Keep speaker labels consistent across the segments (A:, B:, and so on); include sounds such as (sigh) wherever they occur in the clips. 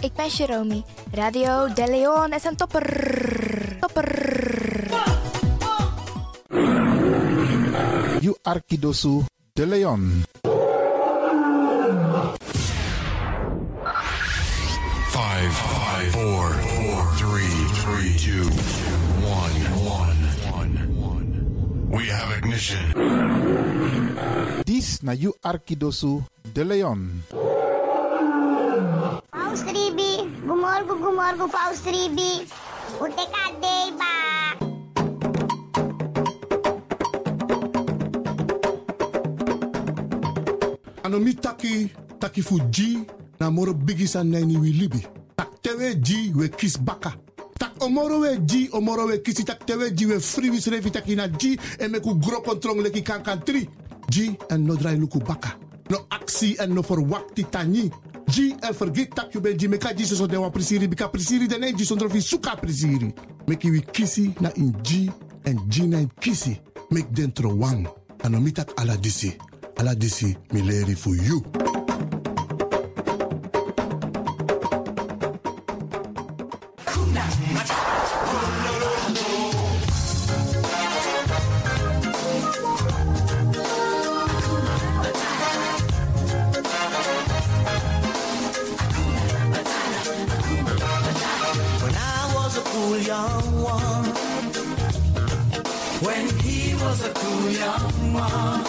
A: Ik ben Jerome. Radio De Leon is een topper. Topper.
B: You Arkidosu de Leon.
C: Five, five, four, four, three, three, two, one, one, one. We have ignition.
B: This na You Arkidosu de Leon.
D: Paus Ribi, gumorgo, gumorgo, Paus Ribi. O Decadeiba.
E: Anomi taki, taki fu G, na moro bigisan nani wi libi. Tak tewe G, we kis baka. Tak omoro we G, omoro we kisi, tak tewe G, we free wis revi taki na G, en meku gro kontrong leki kan kan tri. G, en no drai luku baka. No aksi en no forwakti tani. G, en forget tak you ben G, meka G so dewa prisiri, bika prisiri dene G, sondro fi suka prisiri. Meki wi kisi na in G, en G na in kisi. Make dentro wang. Anomi tak ala disi. Ala disi mi leri fu you.
F: When I was a cool young one. When he was a cool young one.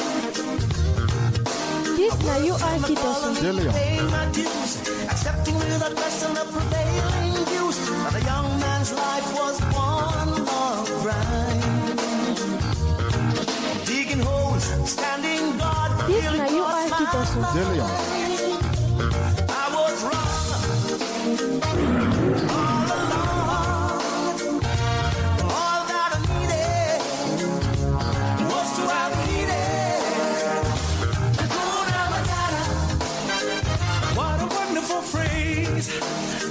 G: This na you Arkidosu.
B: De Leon.
F: Paying my dues, accepting without question the prevailing views. But a young man's life was one long grind. Digging holes, standing guard.
G: This
F: till it
G: na you
F: cost my
G: Arkidosu.
B: De Leon.
F: I was wrong. All along. All that I needed was to have needed. Hakuna Matata. What a wonderful phrase.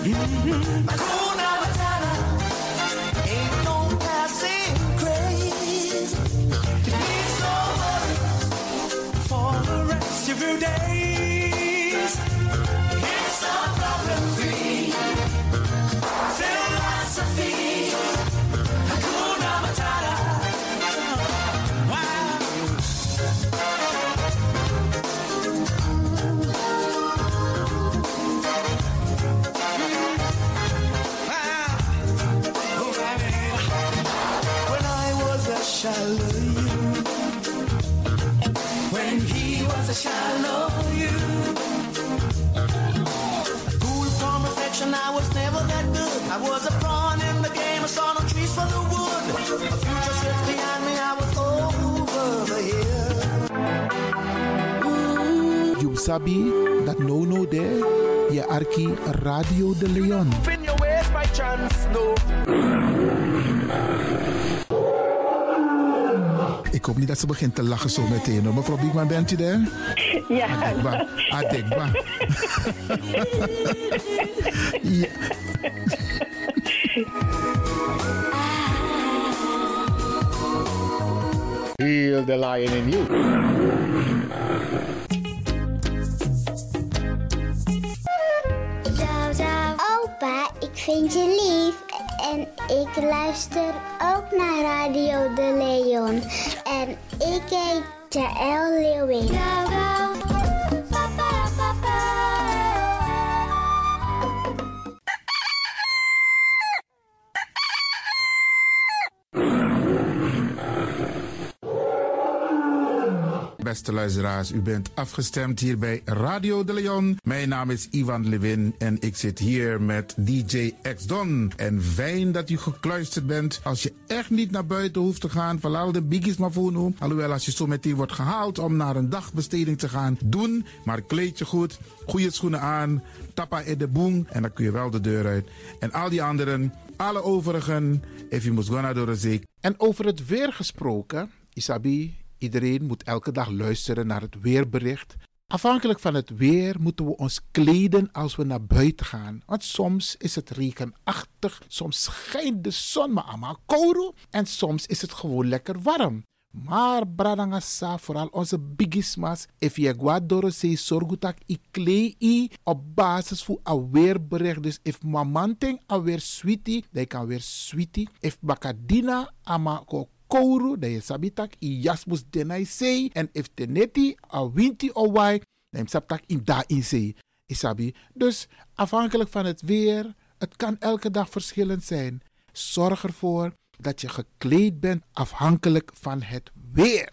F: Mhm. Hakuna Matata. Ain't no passing craze. It means no worry for the rest of your days. It's a problem-free philosophy. Hakuna Matata. Wow. Wow. Oh, baby. When I was a Shallow you. When he was a shallow you. Cool from reflection, I was never that good. I was a pawn in the game, I saw no trees for the wood. A future sits behind me, I was over the hill.
B: You sabi that no no there. Je Arki Radio de Leon.
F: in your ways by chance, no.
B: Ik hoop niet dat ze begint te lachen zo meteen. hoor. Mevrouw Biekman, bent u daar?
H: Ja,
B: Adekba. Adekba. ja.
I: Heal the lion in you.
D: Opa, ik vind je lief. En ik luister ook naar Radio De Leon. En ik heet Jaël Leeuwin.
B: Beste luisteraars, u bent afgestemd hier bij Radio de Leon. Mijn naam is Ivan Levin en ik zit hier met DJ X Don. En fijn dat u gekluisterd bent. Als je echt niet naar buiten hoeft te gaan, verlaat de biggies maar voor nu. Alhoewel, als je zo meteen wordt gehaald om naar een dagbesteding te gaan, doen. Maar kleed je goed, goede schoenen aan, tappa in de boem en dan kun je wel de deur uit. En al die anderen, alle overigen, if you must go naar door de zee. En over het weer gesproken, Isabi, Iedereen moet elke dag luisteren naar het weerbericht. Afhankelijk van het weer moeten we ons kleden als we naar buiten gaan. Want soms is het regenachtig, soms schijnt de zon maar allemaal kouro en soms is het gewoon lekker warm.
G: Maar bradangasa, vooral onze bigismas, if je guadoro se sorgutak i klei i op basis voor een weerbericht. Dus if mamanting a weer sweetie, dan kan weer sweetie. If bakadina ama ko kouru, dan je sabitak i jasmus denai sei. En if teneti a winti o wai, dan saptak in da in sei. Isabi. Dus afhankelijk van het weer, het kan elke dag verschillend zijn. Zorg ervoor dat je gekleed bent afhankelijk van het weer.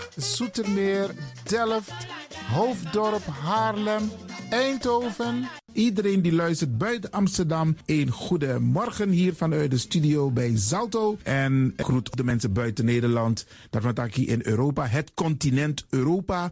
B: Zoetermeer, Delft, Hoofddorp, Haarlem, Eindhoven. Iedereen die luistert buiten Amsterdam, een goede morgen hier vanuit de studio bij Zalto. En ik groet de mensen buiten Nederland, dat we het hier in Europa, het continent Europa.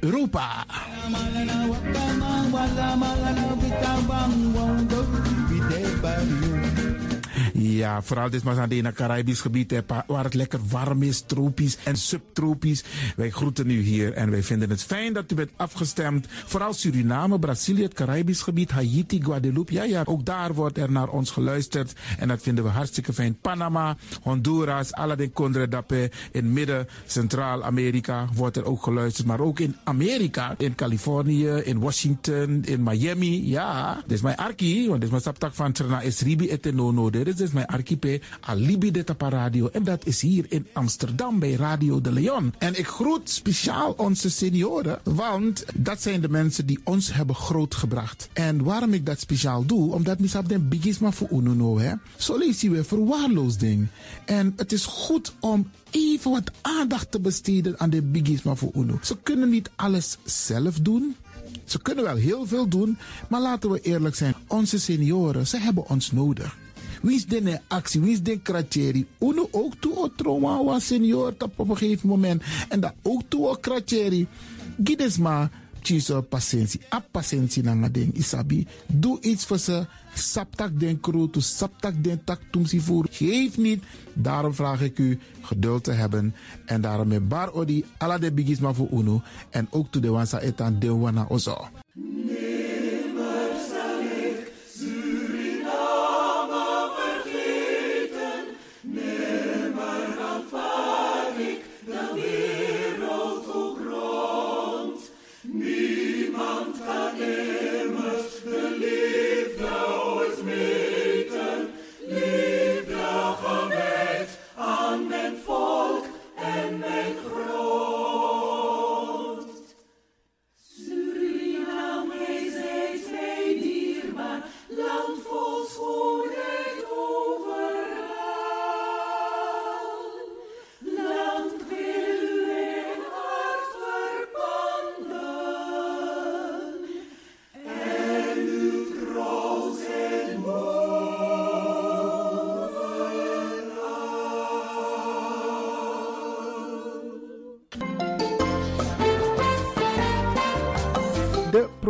B: Europa. Ja, vooral dit maar aan het Caribisch gebied, hè, pa- waar het lekker warm is, tropisch en subtropisch. Wij groeten u hier en wij vinden het fijn dat u bent afgestemd. Vooral Suriname, Brazilië, het Caribisch gebied, Haiti, Guadeloupe. Ja, ja, ook daar wordt er naar ons geluisterd en dat vinden we hartstikke fijn. Panama, Honduras, Aladdin Condre Dapé, in midden, Centraal-Amerika wordt er ook geluisterd. Maar ook in Amerika, in Californië, in Washington, in Miami. Ja, dit is mijn arki, want dit is mijn saptak van Trana is Ribi Etenono. Dit is dus mijn archipel, Alibi de Tapa Radio. En dat is hier in Amsterdam bij Radio de Leon. En ik groet speciaal onze senioren, want dat zijn de mensen die ons hebben grootgebracht. En waarom ik dat speciaal doe, omdat misap den bigisma voor ununo, hè. Zo lezen we verwaarloosding. En het is goed om even wat aandacht te besteden aan de bigisma voor uno. Ze kunnen niet alles zelf doen. Ze kunnen wel heel veel doen, maar laten we eerlijk zijn. Onze senioren, ze hebben ons nodig. Wie is de actie? Wie is de kratjeri? Uno ook toe o trauma was senior tap op een gegeven moment. En dat ook toe o kratjeri. Gides maar, tjiso patiëntie. A patiëntie na nga ding, isabi. Doe iets voor ze. Saptak den kroto, saptak den tak tumsi voer. Geef niet. Daarom vraag ik u geduld te hebben. En daarom met bar odi, ala de bigisma voor uno. En ook toe de wansa etan de wana ozo. De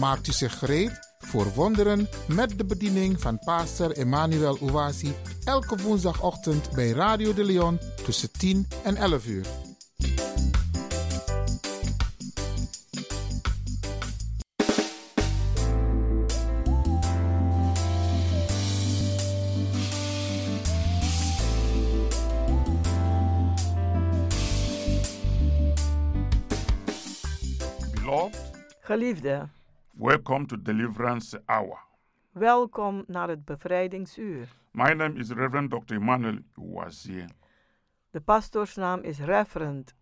G: Maakt u zich gereed voor wonderen met de bediening van pastor Emmanuel Owasi elke woensdagochtend bij Radio de Leon tussen 10 en 11 uur.
J: Beloved,
K: Geliefde,
J: welcome to Deliverance Hour.
K: welkom naar het bevrijdingsuur.
J: My name is Reverend Dr. Emmanuel Uwazie.
K: De pastoorsnaam is Reverend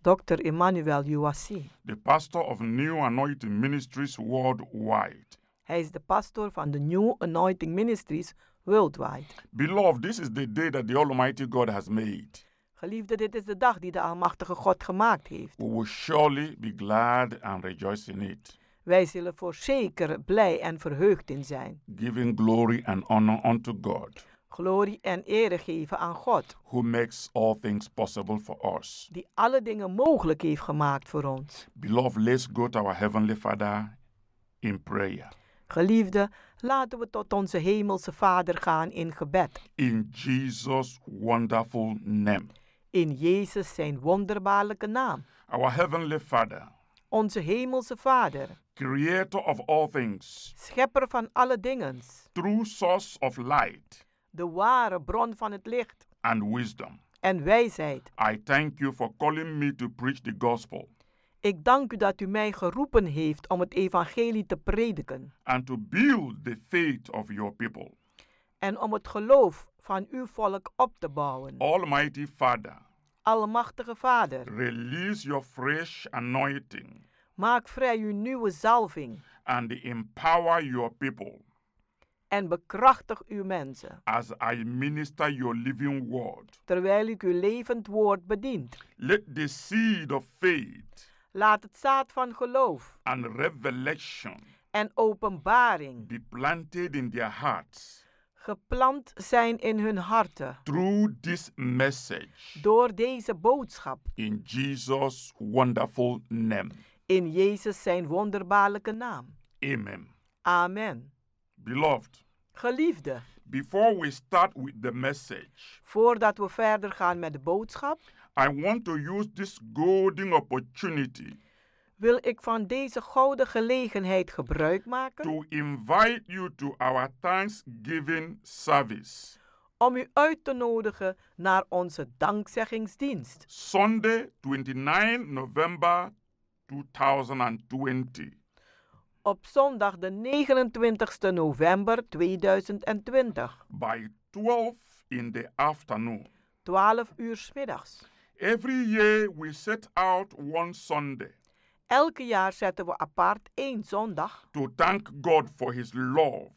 K: Dr. Emmanuel Uwasi.
J: the pastor of New Anointing Ministries worldwide.
K: Hij is de pastoor van de New Anointing Ministries worldwide.
J: Beloved, this is the day that the Almighty God has made.
K: Geliefde, dit is de dag die de Almachtige God gemaakt heeft.
J: We will surely be glad and rejoice in it,
K: Wij zullen voorzeker blij en verheugd in zijn.
J: giving glory and honor unto God,
K: Glorie en ere geven aan God,
J: who makes all things possible for us.
K: die alle dingen mogelijk heeft gemaakt voor ons.
J: Beloved, let's go to our Heavenly Father in prayer.
K: Geliefde, laten we tot onze Hemelse Vader gaan in gebed.
J: In Jesus' wonderful name.
K: In Jezus zijn wonderbaarlijke naam.
J: Our Heavenly Father,
K: Onze Hemelse Vader,
J: Creator of all things,
K: Schepper van alle dingen,
J: true source of light
K: de ware bron van het licht
J: and wisdom,
K: en wijsheid.
J: I thank you for calling me to preach the gospel
K: Ik dank u dat u mij geroepen heeft om het evangelie te prediken
J: and to build the faith of your people.
K: en om het geloof van uw volk op te bouwen.
J: Almighty Father,
K: Almachtige Vader,
J: release your fresh anointing
K: maak vrij uw nieuwe zalving
J: and empower your people
K: en bekrachtig uw mensen,
J: as I minister your living word.
K: terwijl ik uw levend woord bedient.
J: Let the seed of faith
K: Laat het zaad van geloof
J: and revelation
K: en openbaring
J: be planted in their hearts
K: geplant zijn in hun harten
J: through this message.
K: door deze boodschap.
J: In Jesus' wonderful name.
K: In Jezus zijn wonderbaarlijke naam.
J: Amen.
K: Amen.
J: Beloved,
K: Geliefde,
J: before we start with the message,
K: voordat we verder gaan met de boodschap,
J: I want to use this golden opportunity
K: wil ik van deze gouden gelegenheid gebruik maken
J: to invite you to our Thanksgiving service,
K: om u uit te nodigen naar onze dankzeggingsdienst.
J: Sunday, 29 November 2020.
K: Op zondag de 29 november 2020,
J: by 12 in the afternoon.
K: 12 uur 's middags.
J: Every year we set out one Sunday
K: Elke jaar zetten we apart één zondag
J: to thank God for His love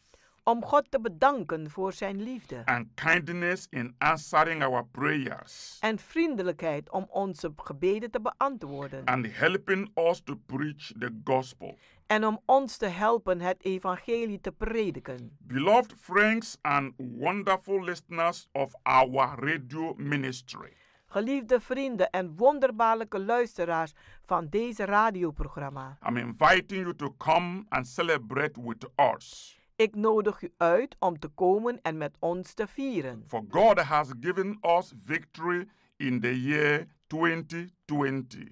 K: om God te bedanken voor zijn liefde
J: and kindness in answering our prayers
K: en vriendelijkheid om onze gebeden te beantwoorden
J: and helping us to preach the gospel.
K: en om ons te helpen het evangelie te prediken.
J: Beloved friends and wonderful listeners of our radio ministry,
K: Geliefde vrienden en wonderbaarlijke luisteraars van deze radioprogramma,
J: I'm inviting you to come and celebrate with us.
K: ik nodig u uit om te komen en met ons te vieren.
J: For God has given us victory in the year 2020.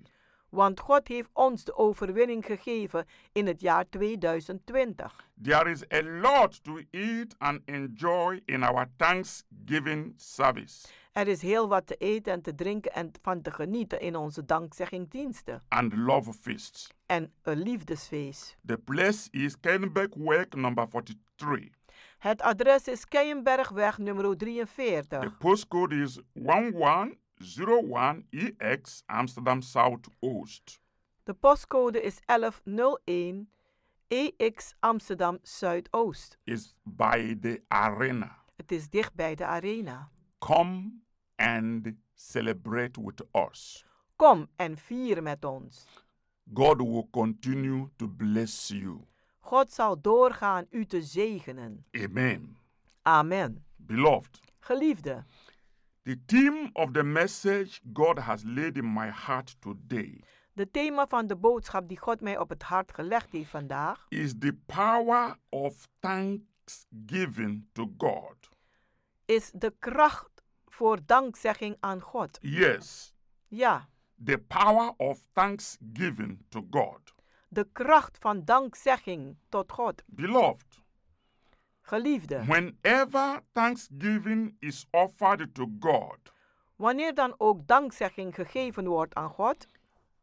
K: Want God heeft ons de overwinning gegeven in het jaar 2020.
J: There is a lot to eat and enjoy in our Thanksgiving service.
K: Er is heel wat te eten en te drinken en van te genieten in onze dankzeggingdiensten
J: and love feasts.
K: en een liefdesfeest.
J: The place is Kenbeck Work number 43.
K: Het adres is Keienbergweg nummer
J: The
K: 43.
J: postcode is 1101EX E Amsterdam South Oost.
K: De postcode is 1101 EX E Amsterdam Zuidoost.
J: It's by the arena.
K: Het is dicht bij de arena.
J: Come and celebrate with us.
K: Kom en vier met ons.
J: God will continue to bless you.
K: God zal doorgaan u te zegenen.
J: Amen.
K: Amen.
J: Beloved,
K: Geliefde,
J: the theme of the message God has laid in my heart today
K: de thema van de boodschap die God mij op het hart gelegd heeft vandaag
J: is the power of thanksgiving to God.
K: is de kracht voor dankzegging aan God.
J: Yes,
K: Ja,
J: the power of thanksgiving to God.
K: de kracht van dankzegging tot God.
J: Beloved,
K: Geliefde,
J: whenever thanksgiving is offered to God,
K: wanneer dan ook dankzegging gegeven wordt aan God,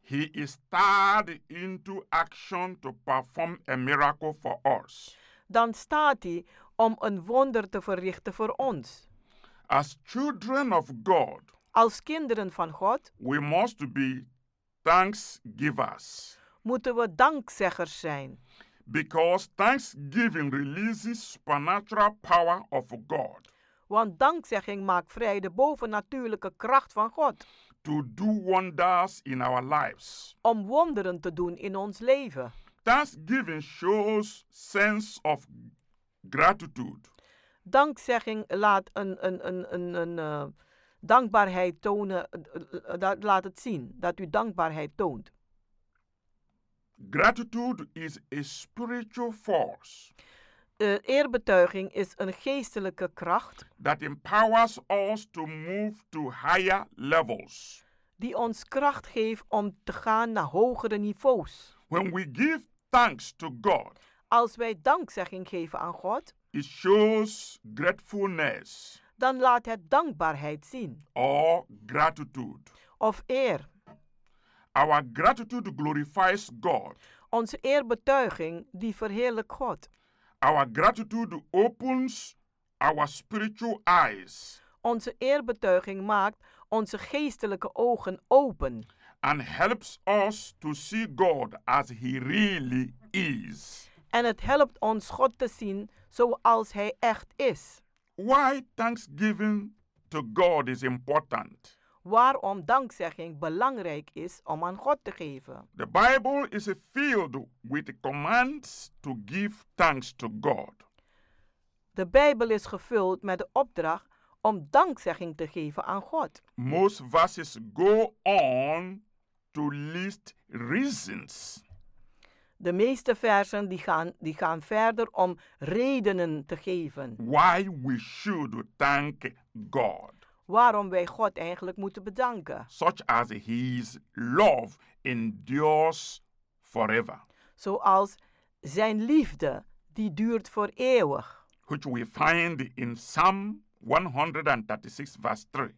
J: He is stirred into action to perform a miracle for us.
K: dan staat hij om een wonder te verrichten voor ons.
J: As children of God,
K: Als kinderen van God
J: we must be thanksgivers
K: moeten we dankzeggers zijn,
J: because thanksgiving releases supernatural power of God
K: want dankzegging maakt vrij de bovennatuurlijke kracht van God
J: to do wonders in our lives.
K: om wonderen te doen in ons leven.
J: Thanksgiving shows sense of gratitude.
K: Dankzegging laat een, een, een, een, een eh, dankbaarheid tonen, eh, eh, dat laat het zien dat u dankbaarheid toont.
J: Gratitude is a spiritual force
K: Eh, eerbetuiging is een geestelijke kracht
J: that empowers us to move to higher levels.
K: die ons kracht geeft om te gaan naar hogere niveaus.
J: When we give thanks to God,
K: Als wij dankzegging geven aan God,
J: it shows gratefulness
K: dan laat het dankbaarheid zien
J: or gratitude.
K: of eer.
J: Our gratitude glorifies God.
K: Onze eerbetuiging die verheerlijkt God.
J: Our gratitude opens our spiritual eyes
K: Onze eerbetuiging maakt onze geestelijke ogen open
J: and helps us to see God as He really is.
K: en het helpt ons God te zien zoals Hij echt is.
J: Why thanksgiving to God is important.
K: Waarom dankzegging belangrijk is om aan God te geven.
J: The Bible is filled with commands to give thanks to God.
K: De Bijbel is gevuld met de opdracht om dankzegging te geven aan God.
J: Most verses go on to list reasons
K: De meeste versen die gaan, die gaan verder om redenen te geven
J: why we should thank God,
K: waarom wij God eigenlijk moeten bedanken.
J: such as His love endures forever,
K: Zoals zijn liefde, die duurt voor eeuwig.
J: which we find in Psalm 136, verse 3.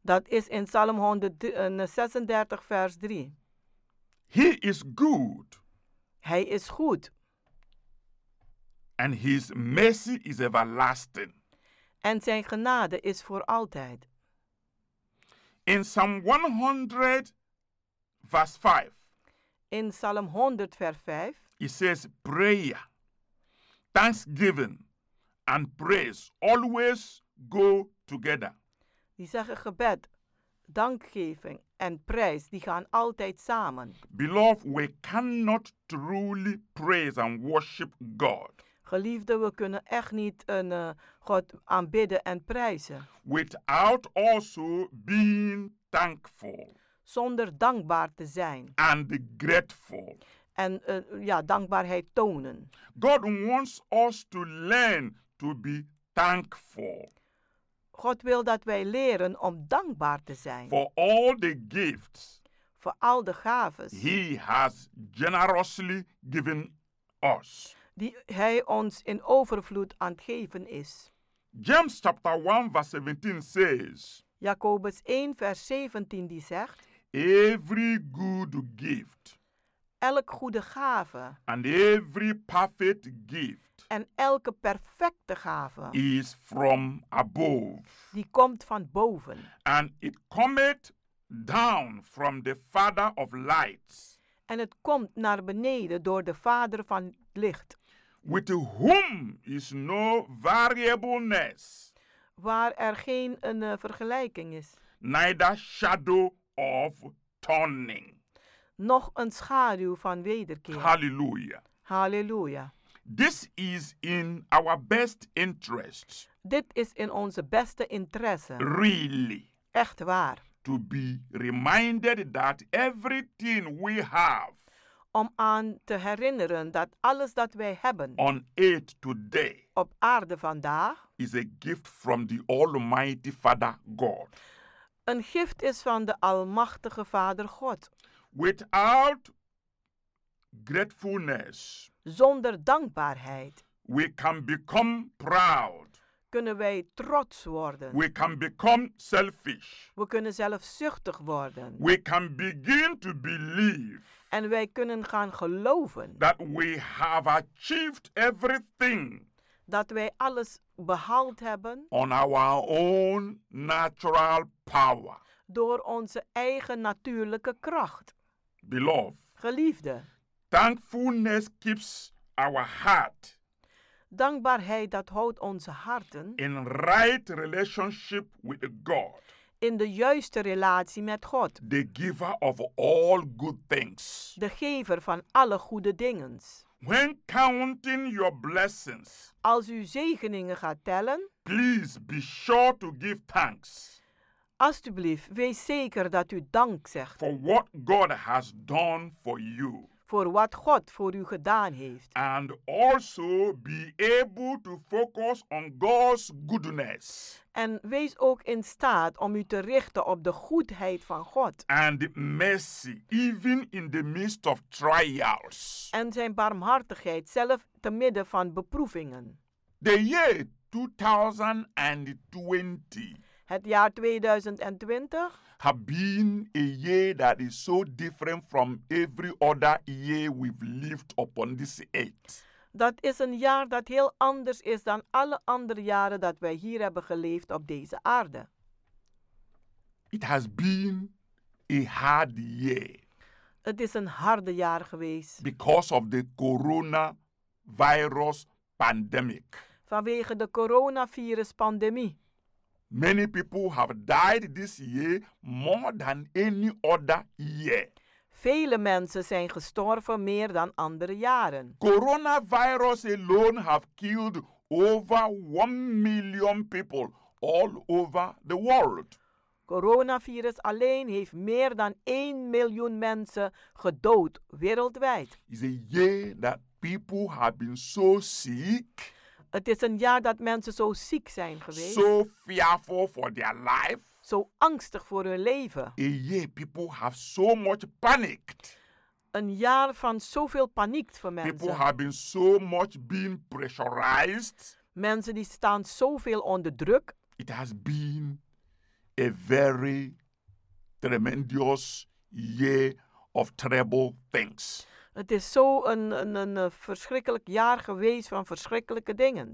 K: Dat is in Psalm 136, vers 3.
J: He is good
K: Hij is goed
J: and His mercy is everlasting.
K: en zijn genade is voor altijd.
J: In Psalm 100, verse 5,
K: In Psalm 100, vers 5.
J: it says, Prayer, thanksgiving, and praise always go together.
K: Die zeggen gebed, dankgeving en prijs, die gaan altijd samen.
J: Beloved, we cannot truly praise and worship God
K: Geliefde, we kunnen echt niet een, eh, God aanbidden en prijzen
J: without also being thankful
K: zonder dankbaar te zijn
J: and grateful.
K: en eh, ja, dankbaarheid tonen.
J: God wants us to learn to be thankful
K: God wil dat wij leren om dankbaar te zijn
J: for all the gifts
K: voor al de gaves
J: He has generously given us.
K: die Hij ons in overvloed aan het geven is.
J: James chapter 1 verse 17 says,
K: Jacobus 1, vers 17 die zegt,
J: Every good gift
K: elk goede gave
J: and every perfect gift
K: en elke perfecte gave,
J: is from above.
K: die komt van boven.
J: and it cometh down from the Father of lights,
K: en het komt naar beneden door de Vader van het licht,
J: with whom is no variableness,
K: waar er geen een, eh, vergelijking is,
J: neither shadow of turning.
K: nog een schaduw van wederkeer.
J: Hallelujah.
K: Halleluja.
J: This is in our best interest,
K: Dit is in onze beste interesse.
J: really,
K: Echt waar.
J: to be reminded that everything we have
K: Om aan te herinneren dat alles dat wij hebben
J: on earth today
K: op aarde vandaag
J: is a gift from the Almighty Father God.
K: een gift is van de Almachtige Vader God.
J: Without gratefulness,
K: Zonder dankbaarheid
J: we can become proud,
K: kunnen wij trots worden.
J: we can become selfish,
K: We kunnen zelfzuchtig worden.
J: we can begin to believe
K: En wij kunnen gaan geloven
J: that we have achieved everything
K: dat wij alles behaald hebben
J: on our own natural power.
K: door onze eigen natuurlijke kracht.
J: Beloved,
K: Geliefde,
J: thankfulness keeps our heart
K: dankbaarheid dat houdt onze harten
J: in right relationship with God,
K: in de juiste relatie met God,
J: the giver of all good things.
K: de gever van alle goede dingen.
J: When counting your blessings,
K: Als u zegeningen gaat tellen,
J: please be sure to give thanks
K: alstublieft, wees zeker dat u dank zegt
J: for what God has done for you
K: voor wat God voor u gedaan heeft.
J: and also be able to focus on God's goodness
K: En wees ook in staat om u te richten op de goedheid van God
J: and mercy even in the midst of trials.
K: en zijn barmhartigheid zelf te midden van beproevingen.
J: The year 2020
K: Het jaar 2020
J: have been a year that is so different from every other year we've lived upon this earth.
K: Dat is een jaar dat heel anders is dan alle andere jaren dat wij hier hebben geleefd op deze aarde.
J: It has been a hard year
K: Het is een harde jaar geweest
J: because of the coronavirus pandemic.
K: vanwege de coronavirus-pandemie.
J: Many people have died this year more than any other year.
K: Vele mensen zijn gestorven meer dan andere jaren.
J: Coronavirus alone have killed over 1 million people all over the world.
K: Coronavirus alleen heeft meer dan 1 miljoen mensen gedood wereldwijd.
J: It's a year that people have been so sick,
K: Het is een jaar dat mensen zo ziek zijn geweest, zo,
J: so fearful for their life.
K: angstig voor hun leven.
J: A year people have so much panicked.
K: Een jaar van zoveel paniek voor
J: People
K: mensen.
J: have been so much being pressurized.
K: Mensen die staan zoveel onder druk.
J: It has been a very tremendous year of terrible things.
K: Het is zo een, een, een eh, verschrikkelijk jaar geweest van verschrikkelijke dingen.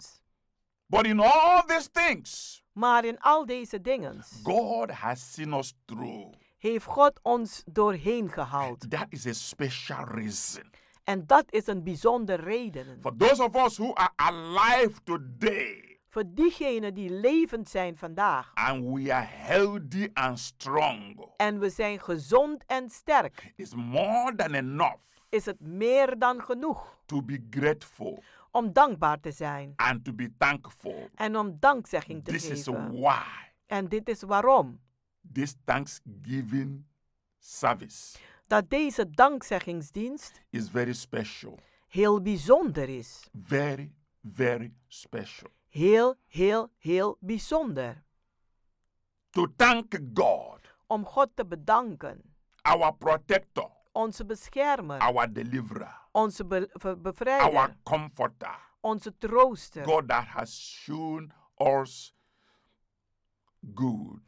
J: But in all these things,
K: Maar in al deze dingen
J: God has seen us through.
K: heeft God ons doorheen gehaald.
J: That is a special reason.
K: En dat is een bijzondere reden.
J: For those of us who are alive today
K: Voor diegenen die levend zijn vandaag.
J: and we are healthy and strong,
K: En we zijn gezond en sterk.
J: it's more than enough
K: Is het meer dan genoeg
J: to be grateful
K: om dankbaar te zijn.
J: and to be thankful.
K: En om dankzegging te
J: This is
K: geven.
J: why
K: En dit is waarom.
J: this Thanksgiving service
K: Dat deze dankzeggingsdienst
J: is very special.
K: heel bijzonder is.
J: Very, very special.
K: Heel, heel, heel bijzonder.
J: To thank God,
K: Om God te bedanken.
J: our protector,
K: Onze beschermer.
J: our deliverer,
K: Onze be- ver-
J: our
K: bevrijder.
J: comforter,
K: Onze trooster.
J: God that has shown us good,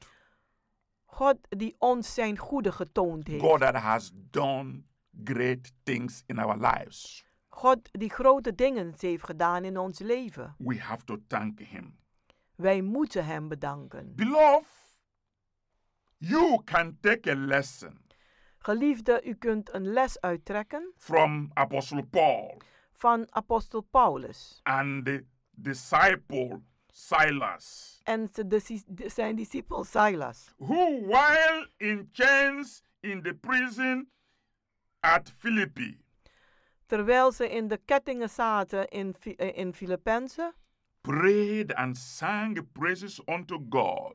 K: God die ons zijn goede getoond
J: God
K: heeft.
J: that has done great things in our lives.
K: God die grote dingen heeft gedaan in ons leven.
J: We have to thank Him.
K: Wij moeten Hem bedanken.
J: Beloved, you can take a lesson
K: Geliefde, u kunt een les uittrekken
J: from Apostle Paul
K: van apostel Paulus
J: and the disciple Silas,
K: en ze- de si- de- zijn discipel Silas,
J: who, while in chains in the prison at Philippi.
K: Terwijl ze in de kettingen zaten in, Fi- eh, in Filippenzen,
J: prayed and sang praises unto God.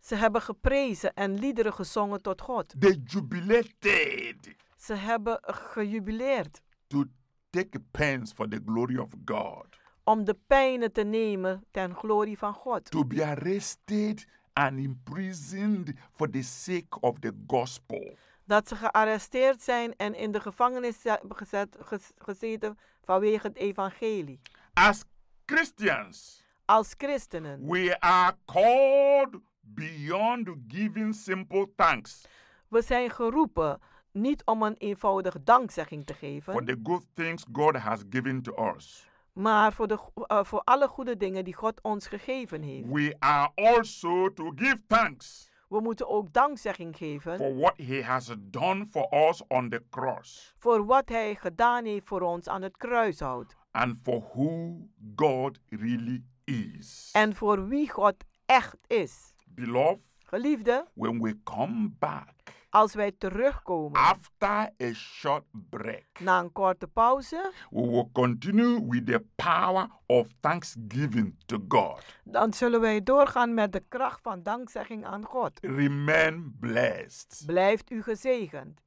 K: ze hebben geprezen en liederen gezongen tot God.
J: They jubilated
K: Ze hebben gejubileerd
J: to take pains for the glory of God,
K: om de pijnen te nemen ten glorie van God.
J: to be arrested and imprisoned for the sake of the gospel.
K: Dat ze gearresteerd zijn en in de gevangenis ze- hebben gezet, ges- gezeten vanwege het evangelie.
J: As Christians,
K: Als christenen,
J: we are called beyond giving simple thanks
K: we zijn geroepen niet om een eenvoudige dankzegging te
J: for
K: geven,
J: the good things God has given to us.
K: maar voor, de, go- eh, voor alle goede dingen die God ons gegeven heeft.
J: We are also to give thanks
K: We moeten ook dankzegging geven
J: for what He has done for us on the cross.
K: voor wat Hij gedaan heeft voor ons aan het kruishout.
J: and for who God really is.
K: En voor wie God echt is.
J: Beloved,
K: Geliefde,
J: when we come back
K: als wij terugkomen
J: after a short break,
K: na een korte pauze,
J: we will continue with the power of thanksgiving to God.
K: dan zullen wij doorgaan met de kracht van dankzegging aan God.
J: Remain blessed.
K: Blijft u gezegend.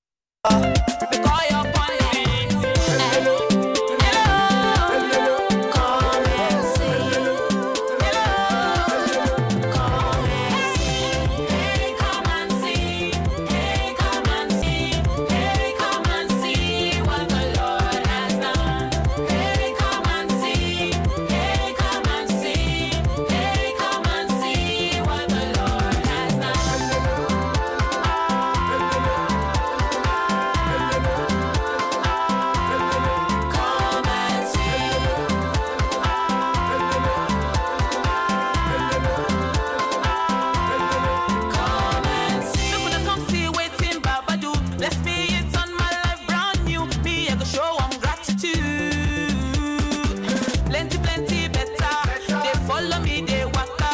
F: Plenty, plenty better. They follow me, they waka.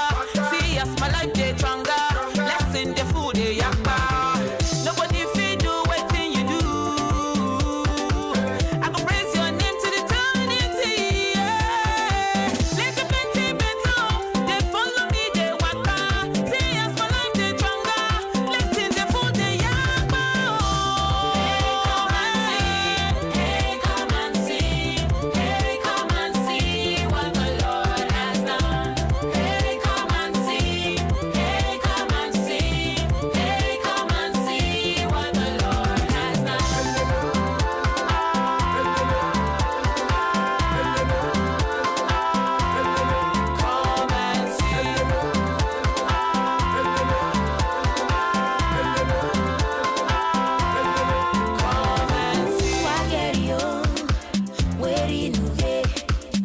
F: See us, my life they stronger. Blessing the food they yakka. Nobody feed do wetin you do. I go praise your name to eternity. Yeah. Plenty, plenty better. They follow me, they waka. See us, my life they stronger. Blessing the food they yakpa. Hey, come and see. Hey, come and see. Hey, come and see what the Lord has done. Hey, come and see. Hey, come and see. Hey, come and see what the Lord has done. Come and see. Come and see.
D: weri nuge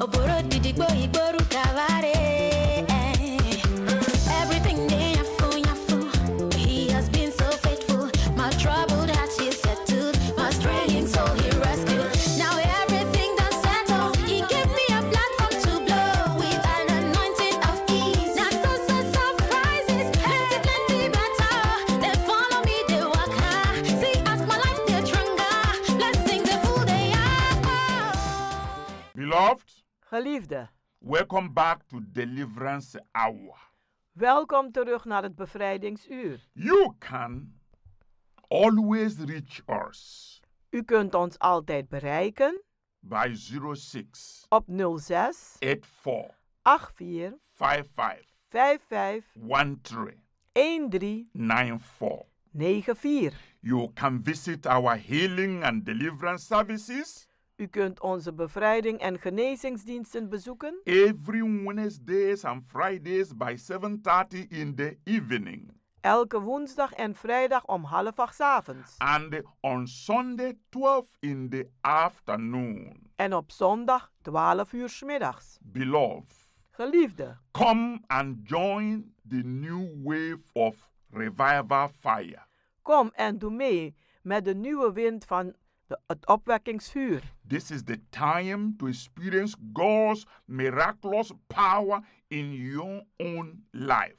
D: oboro didigbo igboru kaware everything dey yafu yafu he has been so faithful my troubled heart he settled my straying soul he rescued now everything done settle he gave me a platform to blow with an anointing of ease not so so surprises plenty plenty better they follow me they waka see as my life dey stronger blessing the full day
J: Beloved,
K: Geliefde,
J: welcome back to Deliverance Hour.
K: welkom terug naar het bevrijdingsuur.
J: You can always reach us
K: U kunt ons altijd bereiken
J: by 06
K: op 06
J: 84
K: 84
J: 55
K: 55
J: 13
K: 13
J: 94.
K: 94.
J: You can visit our healing and deliverance services
K: U kunt onze bevrijding en genezingsdiensten bezoeken
J: every Wednesdays and Fridays by 7:30 in the evening
K: elke woensdag en vrijdag om half acht 's avonds
J: and on Sunday 12 in the afternoon.
K: en op zondag 12 uur 's middags.
J: Beloved,
K: Geliefde,
J: come and join the new wave of revival fire.
K: kom en doe mee met de nieuwe wind van de, het opwekkingsvuur.
J: This is the time to experience God's miraculous power in your own life.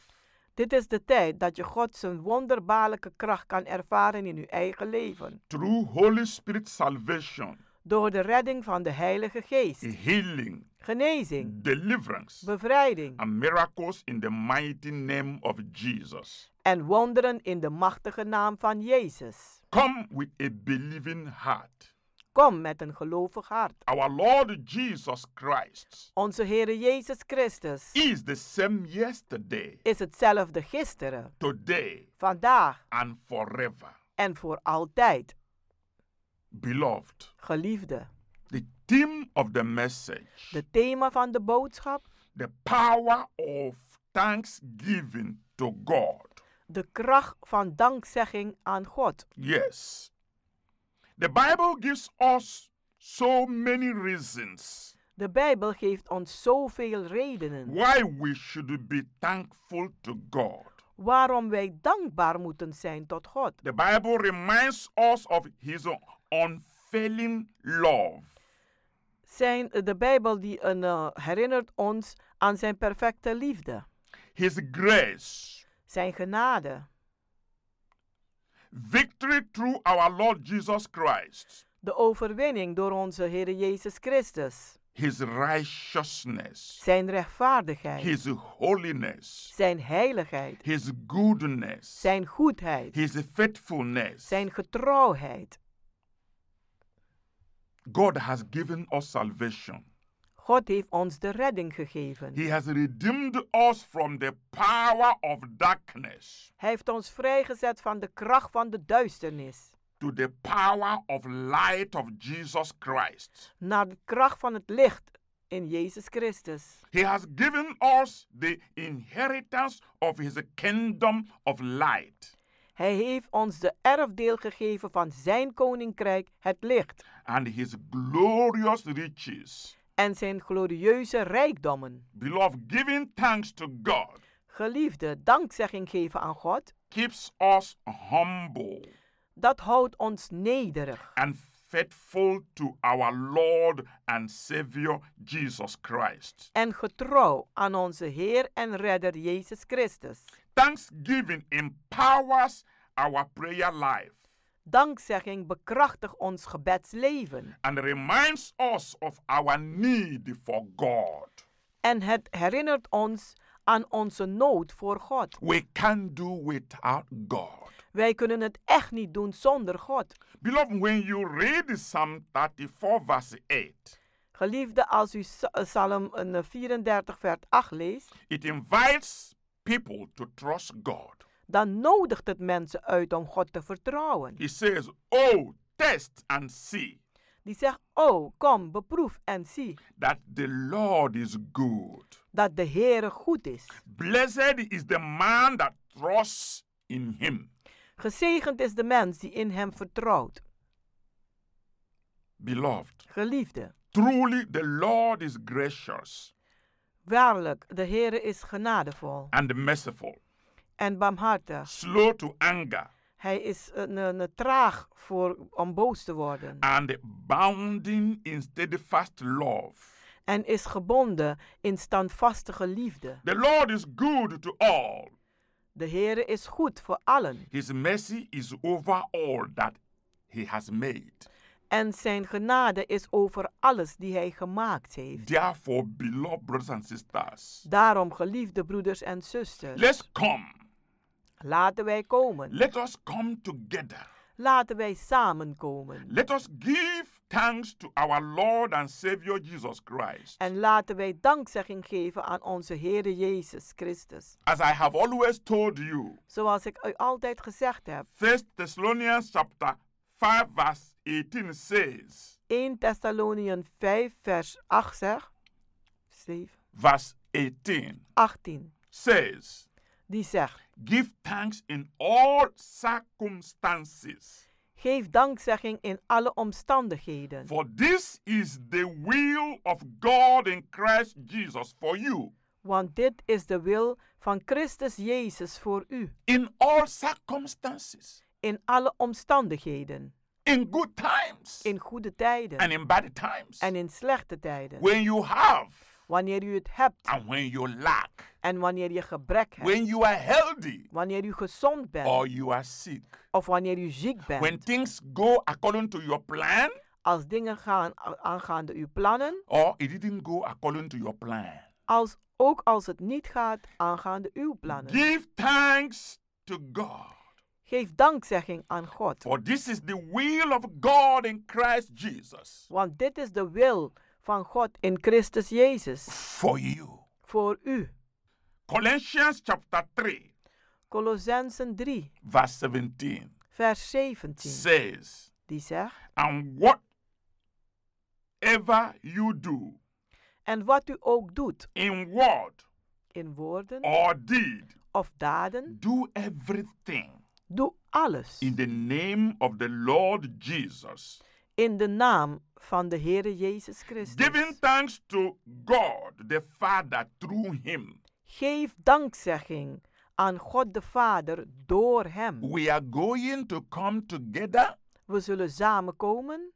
K: Dit is de tijd dat je God zijn wonderbaarlijke kracht kan ervaren in uw eigen leven.
J: through Holy Spirit salvation,
K: Door de redding van de Heilige Geest,
J: Mm. healing, Mm.
K: genezing,
J: deliverance,
K: bevrijding
J: and miracles in the mighty name of Jesus.
K: en wonderen in de machtige naam van Jezus.
J: Come with a believing heart.
K: Kom met een gelovig hart.
J: Our Lord Jesus Christ
K: Onze Heere Jezus Christus
J: is the same yesterday,
K: is hetzelfde gisteren,
J: today,
K: vandaag
J: and forever.
K: en voor altijd.
J: Beloved,
K: Geliefde,
J: the theme of the message,
K: de thema van de boodschap,
J: the power of thanksgiving to God.
K: de kracht van dankzegging aan God.
J: Yes. The Bible gives us so many reasons
K: De Bijbel geeft ons zoveel redenen
J: why we should be thankful to God.
K: waarom wij dankbaar moeten zijn tot God.
J: The Bible reminds us of His unfailing love.
K: Zijn eh, de Bijbel die een, eh, herinnert ons aan zijn perfecte liefde,
J: His grace,
K: zijn genade,
J: victory through our Lord Jesus Christ,
K: de overwinning door onze Heer Jezus Christus,
J: His righteousness,
K: zijn rechtvaardigheid,
J: His holiness,
K: zijn heiligheid,
J: His goodness,
K: zijn goedheid,
J: His faithfulness.
K: zijn getrouwheid.
J: God has given us salvation.
K: God heeft ons de redding gegeven.
J: He has redeemed us from the power of darkness
K: Hij heeft ons vrijgezet van de kracht van de duisternis
J: to the power of light of Jesus Christ.
K: naar de kracht van het licht in Jezus Christus.
J: He has given us the inheritance of his kingdom of light.
K: Hij heeft ons de erfdeel gegeven van zijn koninkrijk, het licht,
J: and his glorious riches.
K: en zijn glorieuze rijkdommen.
J: Beloved, giving thanks to God
K: Geliefde, dankzegging geven aan God,
J: keeps us humble
K: dat houdt ons nederig
J: and faithful to our Lord and Savior Jesus Christ.
K: en getrouw aan onze Heer en Redder Jezus Christus.
J: Thanksgiving empowers our prayer life
K: Dankzegging bekrachtigt ons gebedsleven
J: and reminds us of our need for God.
K: en het herinnert ons aan onze nood voor God.
J: We can't do without God.
K: Wij kunnen het echt niet doen zonder God.
J: Beloved, when you read Psalm 34, verse 8,
K: Geliefde, als u Sa- eh, Psalm eh, 34, vers 8 leest,
J: it invites people to trust God.
K: dan nodigt het mensen uit om God te vertrouwen.
J: It says, Oh, test and see
K: Die zegt, oh, kom, beproef en zie
J: that the Lord is good.
K: dat de Heere goed is.
J: Blessed is the man that trusts in him.
K: Gezegend is de mens die in hem vertrouwt.
J: Beloved,
K: Geliefde,
J: truly the Lord is gracious
K: waarlijk, de Heere is genadevol
J: and merciful,
K: en barmhartig.
J: slow to anger,
K: Hij is een, een, een traag voor, om boos te worden
J: and abounding in steadfast love.
K: en is gebonden in standvastige liefde.
J: The Lord is good to all.
K: De Heere is goed voor allen.
J: His mercy is over all that he has made.
K: En zijn genade is over alles die hij gemaakt heeft.
J: Therefore, beloved brothers and sisters,
K: Daarom, geliefde broeders en zusters,
J: let's come.
K: laten wij komen.
J: Let us come together.
K: Laten wij samenkomen.
J: Let us give thanks to our Lord and Savior Jesus Christ.
K: En laten wij dankzegging geven aan onze Heere Jezus Christus.
J: As I have always told you,
K: Zoals ik u altijd gezegd heb.
J: 1 Thessalonians chapter 5 verse 18 says,
K: 1 Thessaloniën 5, vers 8 zegt. 7,
J: verse 18
K: 18.
J: says,
K: Die zegt:
J: give thanks in all circumstances,
K: Geef dankzegging in alle omstandigheden.
J: for this is the will of God in Christ Jesus for you.
K: Want dit is de wil van Christus Jezus voor u.
J: In all circumstances,
K: In alle omstandigheden.
J: in good times
K: In goede tijden.
J: and in bad times,
K: en in slechte tijden.
J: when you have
K: Wanneer u het hebt.
J: and when you lack,
K: En wanneer je gebrek hebt.
J: when you are healthy,
K: wanneer u gezond bent.
J: or you are sick,
K: of wanneer u ziek bent.
J: Oh. when things go according to your plan,
K: als dingen gaan a- aangaande uw plannen.
J: or it didn't go according to your plan,
K: Als, ook als het niet gaat aangaande uw plannen.
J: give thanks to God.
K: Geef dankzegging aan God.
J: For this is the will of God in Christ Jesus
K: Want dit is de wil van God in Christus Jezus.
J: for you.
K: Voor u.
J: Colossians chapter 3,
K: Colossensen 3,
J: verse 17
K: vers 17.
J: says,
K: Die zegt.
J: And whatever you do
K: En wat u ook doet.
J: in word
K: In woorden
J: or deed,
K: of daden.
J: do everything
K: Doe alles.
J: in the name of the Lord Jesus,
K: In de naam van de Heere Jezus Christus.
J: giving thanks to God the Father through him.
K: Geef dankzegging aan God de Vader door Hem.
J: We are going to come together
K: We zullen samenkomen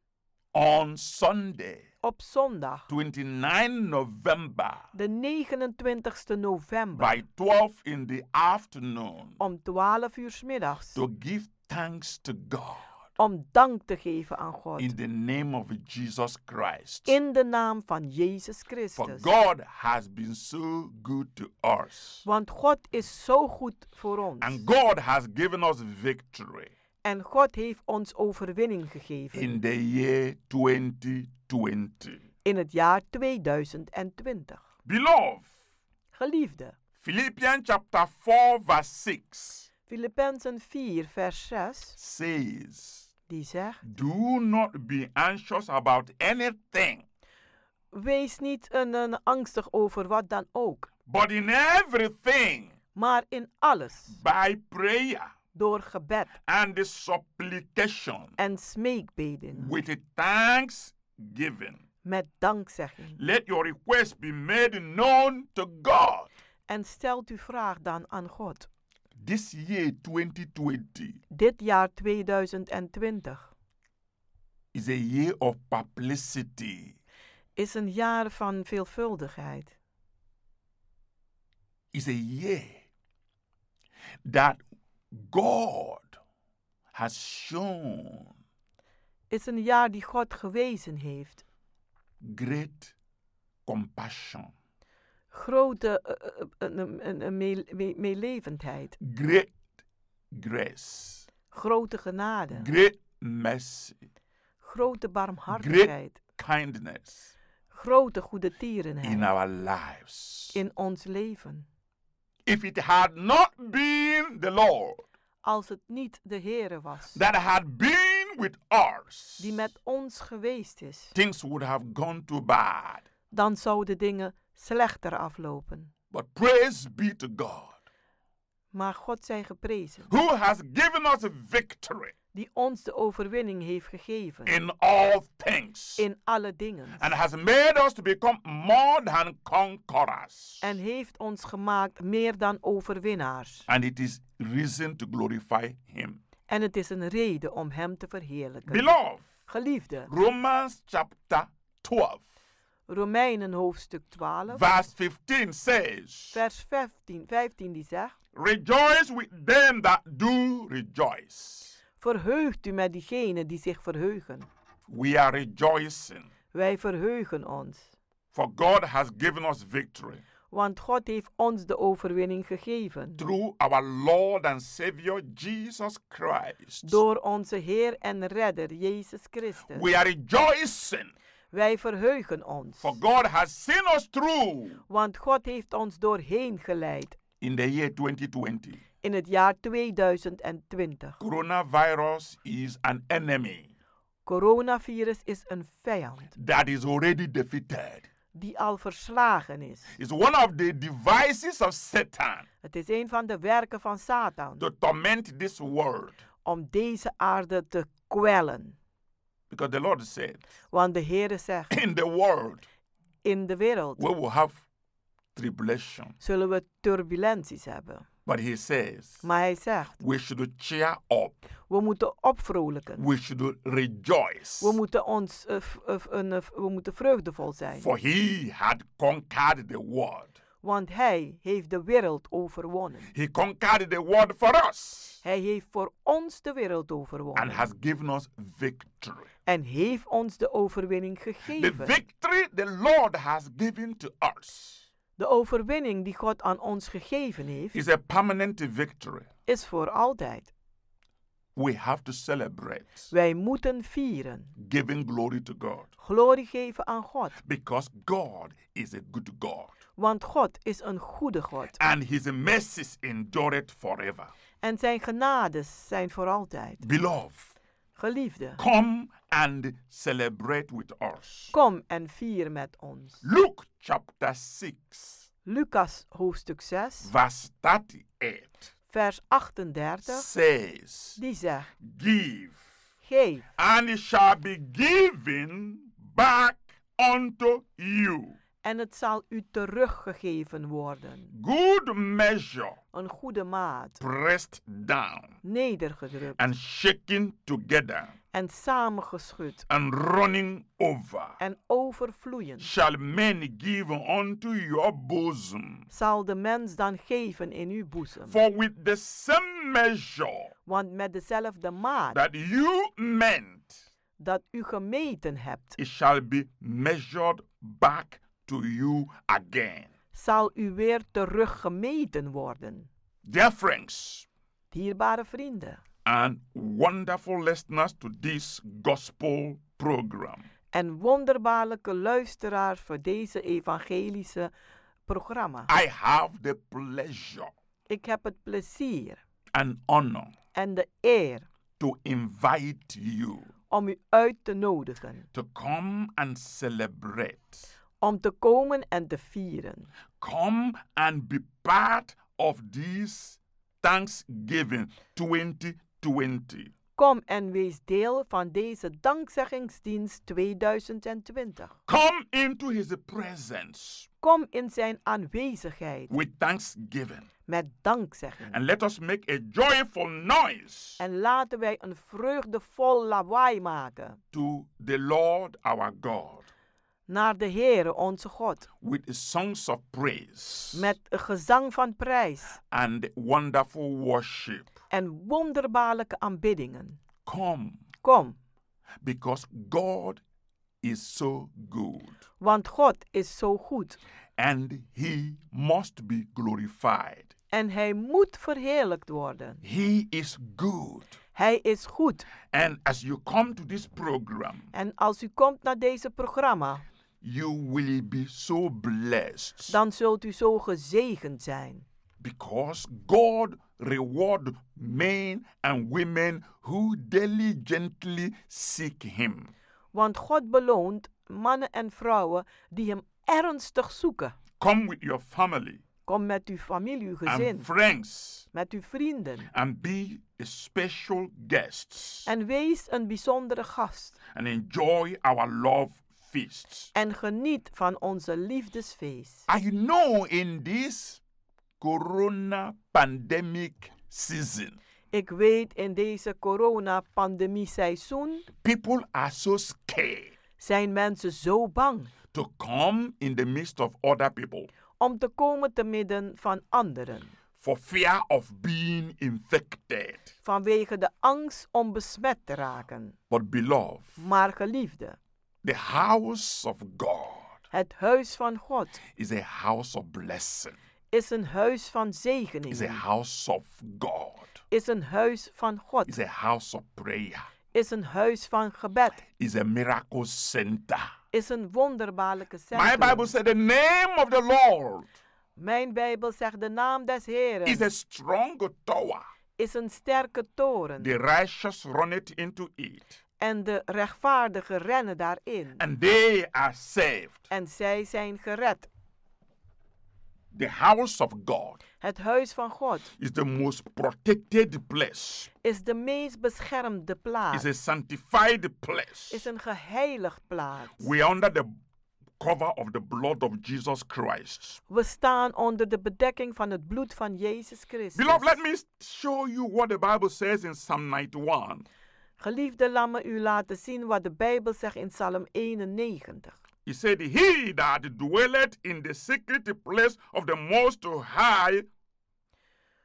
J: on Sunday,
K: op zondag,
J: 29 November,
K: de 29 november,
J: by 12 in the afternoon,
K: om 12 uur 's middags,
J: to give thanks to God
K: om dank te geven aan God.
J: in the name of Jesus Christ.
K: In de naam van Jezus
J: For
K: Christus.
J: God has been so good to us,
K: Want God is zo goed voor ons.
J: and God has given us victory
K: En God heeft ons overwinning
J: in
K: gegeven
J: the year 2020.
K: in het jaar 2020.
J: Beloved,
K: Geliefde,
J: Philippians chapter 4, verse 6
K: Filippenzen 4, vers 6,
J: says,
K: die zegt.
J: Do not be anxious about anything,
K: Wees niet een, een angstig over wat dan ook,
J: but in everything,
K: maar in alles,
J: by prayer
K: door gebed
J: and supplication,
K: en smeekbeden,
J: with thanksgiving.
K: met dankzegging.
J: Let your request be made known to God.
K: En stelt uw vraag dan aan God.
J: This year 2020
K: Dit jaar 2020
J: is a year of publicity.
K: is een jaar van veelvuldigheid.
J: It's a year that God has shown
K: Is een jaar die God gewezen heeft.
J: great compassion,
K: Grote eh, eh, eh, een- een- een mee- mee- meelevendheid,
J: great grace,
K: grote genade,
J: great mercy,
K: grote
J: great
K: barmhartigheid,
J: kindness
K: grote goede
J: in
K: tierenheid
J: our lives.
K: in ons leven.
J: If it had not been the Lord
K: als het niet de Heere was,
J: that had been with us,
K: die met ons geweest is,
J: things would have gone too bad.
K: dan zouden dingen slechter aflopen.
J: But praise be to God
K: Maar God zij geprezen,
J: who has given us victory
K: die ons de overwinning heeft gegeven
J: in all things
K: in alle dingen.
J: and has made us to become more than conquerors.
K: En heeft ons gemaakt meer dan overwinnaars.
J: And it is reason to glorify Him.
K: En het is een reden om Hem te verheerlijken.
J: Beloved,
K: Geliefde,
J: Romans chapter 12,
K: Romeinen hoofdstuk 12,
J: verse 15 says,
K: vers 15, 15 die zegt,
J: Rejoice with them that do rejoice.
K: Verheugt u met diegenen die zich verheugen.
J: We are rejoicing,
K: Wij verheugen ons.
J: for God has given us victory
K: Want God heeft ons de overwinning gegeven.
J: through our Lord and Savior Jesus Christ.
K: Door onze Heer en Redder Jezus Christus.
J: We are rejoicing,
K: Wij verheugen ons.
J: for God has seen us through
K: Want God heeft ons doorheen geleid
J: in the year 2020.
K: in het jaar 2020.
J: Coronavirus is an enemy
K: Coronavirus is een vijand
J: that is already defeated.
K: die al verslagen is.
J: It's one of the devices of Satan
K: Het is een van de werken van Satan
J: to torment this world.
K: om deze aarde te kwellen.
J: Because the Lord said, (clears throat)
K: Want de
J: (coughs)
K: Heere zegt,
J: In the world,
K: in de wereld
J: we will have tribulation.
K: zullen we turbulenties hebben.
J: But he says
K: Maar hij zegt,
J: we should cheer up,
K: we moeten opvrolijken.
J: we should rejoice,
K: We moeten, ons, eh, v- eh, v- een, eh, v- we moeten vreugdevol zijn.
J: for he had conquered the world.
K: Want hij heeft de wereld overwonnen.
J: He conquered the world for us
K: Hij heeft voor ons de wereld
J: and
K: overwonnen.
J: has given us victory.
K: En heeft ons de overwinning
J: The
K: gegeven.
J: victory the Lord has given to us
K: De overwinning die God aan ons gegeven heeft,
J: is a permanent victory.
K: is voor altijd.
J: We have to celebrate
K: Wij moeten vieren.
J: giving glory to God
K: Glorie geven aan God.
J: because God is a good God
K: Want God is een goede God.
J: and his mercies endureth forever.
K: En zijn genades zijn voor altijd.
J: Beloved,
K: Geliefde,
J: come and celebrate with us.
K: kom en vier met ons.
J: Luke chapter 6,
K: Lucas hoofdstuk 6,
J: verse 38
K: vers 38,
J: says,
K: die zegt,
J: Give,
K: geef
J: and it shall be given back unto you.
K: en het zal u teruggegeven worden.
J: Good measure,
K: Een goede maat,
J: pressed down
K: nedergedrukt
J: and shaken together
K: en samengeschud
J: and running over,
K: en overvloeiend,
J: shall men give unto your bosom.
K: zal de mens dan geven in uw boezem.
J: For with the same measure
K: Want met dezelfde maat
J: that you meant,
K: dat u gemeten hebt,
J: it shall be measured back to you again.
K: zal u weer teruggemeten worden.
J: Dear friends
K: Dierbare vrienden
J: and wonderful listeners to this gospel program,
K: en wonderbaarlijke luisteraars voor deze evangelische programma.
J: I have the pleasure
K: Ik heb het plezier
J: and honor
K: en de eer
J: to invite you
K: om u uit te nodigen
J: to come and celebrate.
K: om te komen en te vieren.
J: Come and be part of this Thanksgiving 2020.
K: Kom en wees deel van deze dankzeggingsdienst 2020.
J: Come into his presence
K: Kom in zijn aanwezigheid
J: with thanksgiving
K: met dankzegging.
J: and let us make a joyful noise
K: En laten wij een vreugdevol lawaai maken
J: to the Lord our God
K: naar de Heere onze God.
J: with songs of praise
K: Met een gezang van prijs
J: and wonderful worship.
K: en wonderbaarlijke aanbiddingen.
J: Come
K: Kom,
J: because God is so good
K: want God is zo goed
J: and he must be glorified.
K: en Hij moet verheerlijkt worden.
J: He is good.
K: Hij is goed.
J: And as you come to this program,
K: En als u komt naar deze programma,
J: you will be so blessed
K: dan zult u zo gezegend zijn.
J: because God reward men and women who diligently seek him.
K: Want God beloont mannen en vrouwen die Hem ernstig zoeken.
J: Come with your family
K: Kom met uw familie, uw gezin,
J: and friends
K: met uw vrienden.
J: and be a special guests
K: En wees een bijzondere gast.
J: and enjoy our love feasts.
K: En geniet van onze liefdesfeest.
J: I know in this corona pandemic season,
K: Ik weet in deze corona-pandemie-seizoen
J: people are so scared
K: zijn mensen zo bang
J: to come in the midst of other people
K: om te komen te midden van anderen.
J: for fear of being infected.
K: Vanwege de angst om besmet te raken.
J: But, beloved,
K: Maar geliefde,
J: the house of God
K: het huis van God
J: is a house of blessing,
K: is een huis van
J: is a
K: zegeningen.
J: house of God,
K: Is een huis van God.
J: is a house of prayer,
K: Is een huis van gebed.
J: is a miracle center.
K: Is een wonderbaarlijke
J: My Bible
K: centrum.
J: said the name of the Lord
K: Mijn Bijbel zegt de naam des
J: is
K: Heren
J: a strong tower.
K: is een sterke toren.
J: The righteous run it into it,
K: En de rechtvaardigen rennen daarin.
J: and they are saved.
K: En zij zijn gered.
J: The house of God
K: Het huis van God
J: is the most protected place,
K: is de meest beschermde
J: is
K: plaats.
J: a sanctified place.
K: Is een geheiligd plaats.
J: We are under the cover of the blood of Jesus Christ.
K: We staan onder de bedekking van het bloed van Jezus Christus.
J: Beloved, let me show you what the Bible says in Psalm 91.
K: Geliefde, laat me u laten zien wat de Bijbel zegt in Psalm 91.
J: He said, He that dwelleth in the secret place of the Most High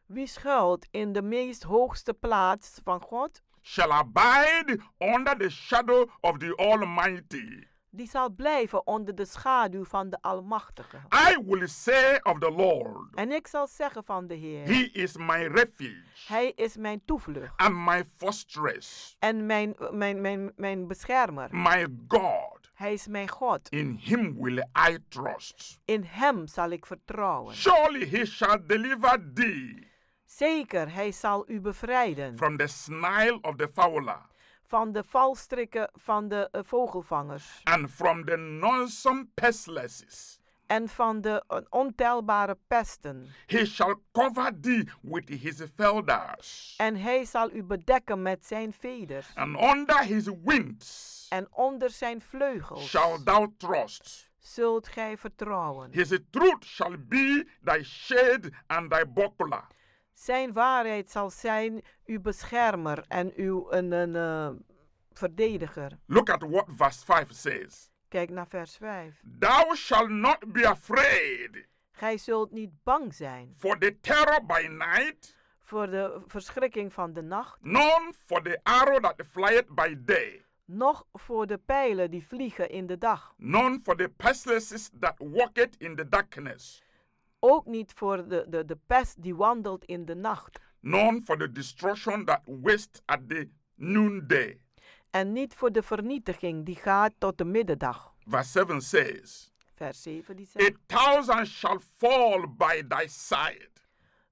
K: Wie schuilt in de meest hoogste plaats van God,
J: shall abide under the shadow of the Almighty.
K: die zal blijven onder de schaduw van de Almachtige.
J: I will say of the Lord,
K: En ik zal zeggen van de Heer,
J: He is my refuge
K: Hij is mijn toevlucht
J: and my fortress,
K: en mijn, mijn, mijn, mijn beschermer.
J: my God.
K: Hij is mijn God.
J: In him will I trust.
K: In Hem zal ik vertrouwen.
J: Surely he shall deliver thee
K: Zeker, Hij zal u bevrijden
J: from the snare of the fowler
K: van de valstrikken van de eh, vogelvangers
J: and from the noisome pestilences.
K: en van de eh, ontelbare pesten.
J: He shall cover thee with his feathers,
K: En Hij zal u bedekken met Zijn veders
J: and under his wings
K: en onder Zijn vleugels
J: shall thou trust.
K: zult gij vertrouwen.
J: His truth shall be thy shade and thy buckler.
K: Zijn waarheid zal zijn uw beschermer en uw een, een, eh, verdediger.
J: Look at what verse 5 says.
K: Kijk naar vers 5.
J: Thou shalt not be afraid
K: Gij zult niet bang zijn
J: for the terror by night,
K: voor de verschrikking van de nacht,
J: none for the arrow that flieth by day,
K: noch voor de pijlen die vliegen in de dag,
J: none for the pestilence that walketh in the darkness,
K: ook niet voor de, de, de pest die wandelt in de nacht,
J: none for the destruction that wasteth at the noonday.
K: en niet voor de vernietiging die gaat tot de middendag.
J: Verse 7 says,
K: Vers 7 die zegt,
J: A thousand shall fall by thy side,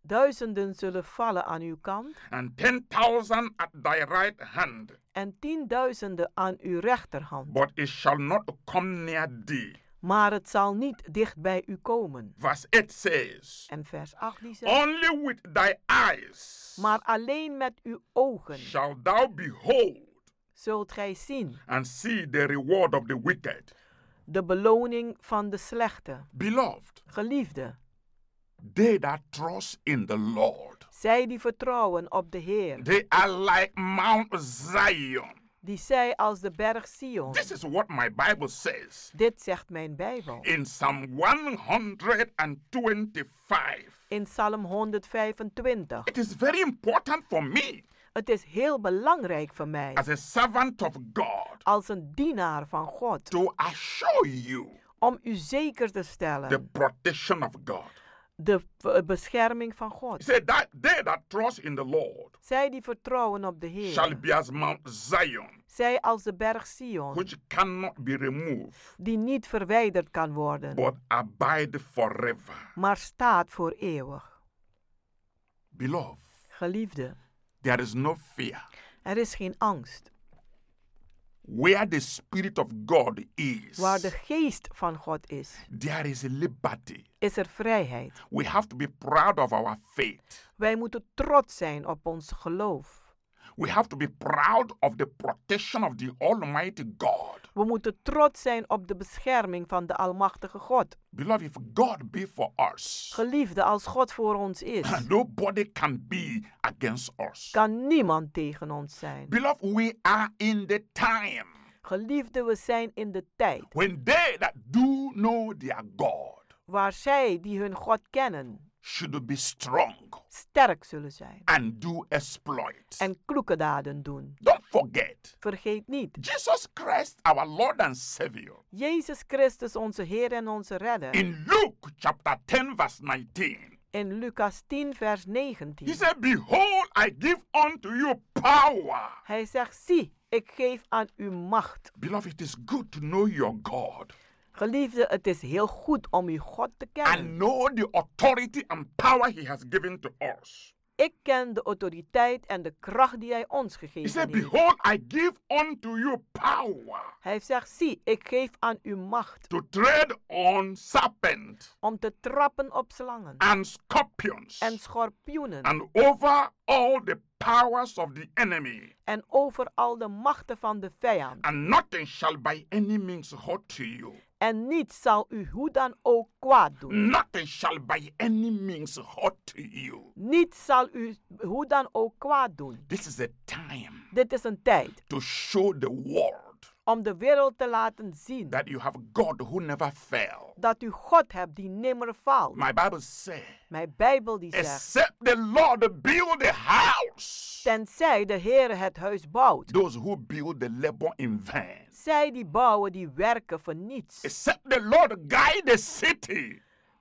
K: duizenden zullen vallen aan uw kant
J: and ten thousand at thy right hand.
K: en tienduizenden aan uw rechterhand.
J: but it shall not come near thee.
K: maar het zal niet dicht bij u komen.
J: Verse 8 says,
K: En vers 8 die zegt,
J: Only with thy eyes
K: maar alleen met uw ogen
J: shalt thou behold
K: zult gij zien
J: and see the reward of the wicked.
K: de beloning van de slechte.
J: Beloved,
K: Geliefde,
J: they that trust in the Lord,
K: zij die vertrouwen op de Heer,
J: they are like Mount Zion.
K: die zij als de berg Sion.
J: This is what my Bible says
K: Dit zegt mijn Bijbel.
J: in Psalm 125.
K: In Psalm 125.
J: It is very important for me
K: Het is heel belangrijk voor mij
J: as a servant of God
K: als een dienaar van God
J: to assure you
K: om u zeker te
J: the
K: stellen
J: protection of God.
K: de eh, bescherming van
J: He
K: God.
J: said that they that trust in the Lord
K: Zij die vertrouwen op de
J: shall
K: Heer,
J: be as Mount Zion,
K: zij als de berg Sion.
J: which cannot be removed,
K: die niet verwijderd kan worden,
J: but abide forever.
K: maar staat voor eeuwig.
J: Beloved,
K: Geliefde,
J: there is no fear.
K: er is geen angst.
J: Where the Spirit of God is,
K: Waar de geest van God is,
J: there is liberty.
K: is er vrijheid.
J: We have to be proud of our faith.
K: Wij moeten trots zijn op ons geloof.
J: We have to be proud of the protection of the Almighty God.
K: We moeten trots zijn op de bescherming van de Almachtige God.
J: Beloved, if God be for us,
K: Geliefde, als God voor ons is,
J: (laughs)
K: (clears throat)
J: nobody can be against us.
K: kan niemand tegen ons zijn.
J: Beloved, we are in the time
K: Geliefde, we zijn in de tijd
J: when they that do know their God
K: waar zij die hun God kennen
J: should be strong
K: sterk zullen zijn
J: and do exploits.
K: en kloeke daden doen.
J: Don't forget,
K: Vergeet niet,
J: Jesus Christ, our Lord and Savior,
K: Jezus Christus, onze Heer en onze Redder.
J: in Luke chapter 10, verse 19,
K: In Lucas 10, vers 19.
J: he said, Behold, I give unto you power.
K: Hij zegt, zie, ik geef aan u macht.
J: Beloved, it is good to know your God
K: Geliefde, het is heel goed om uw God te
J: and
K: kennen.
J: know the authority and power he has given to us.
K: Ik ken de autoriteit en de kracht die hij ons
J: He
K: gegeven
J: said,
K: heeft.
J: Behold, I give unto you power
K: Hij zegt, zie, ik geef aan u macht
J: to tread on serpent
K: om te trappen op slangen
J: and scorpions
K: en schorpioenen
J: and over all the powers of the enemy,
K: en over al de machten van de vijand.
J: and nothing shall by any means hurt to you.
K: En niets zal u hoe dan ook kwaad doen.
J: Nothing shall by any means hurt you.
K: Niets zal u hoe dan ook kwaad doen.
J: This is a time
K: Dit is een tijd
J: to show the world
K: om de wereld te laten zien
J: that you have God who never fail.
K: dat u God hebt die nimmer faalt.
J: My Bible says,
K: Mijn Bijbel die zegt,
J: except the Lord build the house,
K: tenzij de Heere het huis bouwt,
J: those who build the labor in vain.
K: zij die bouwen die werken voor niets.
J: Except the Lord guide the city,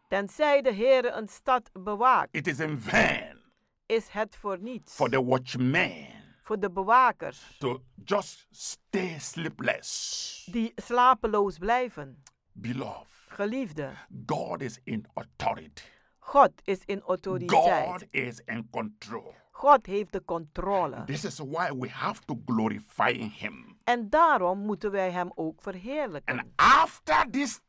K: Tenzij de Heere een stad bewaakt,
J: it is in vain
K: is het voor niets.
J: for the watchman
K: Voor de bewakers
J: to just stay sleepless.
K: die slapeloos blijven.
J: Beloved,
K: Geliefde,
J: God is in authority.
K: God is in autoriteit.
J: God is in control.
K: God heeft de controle.
J: This is why we have to glorify Him.
K: En daarom moeten wij Hem ook verheerlijken.
J: After this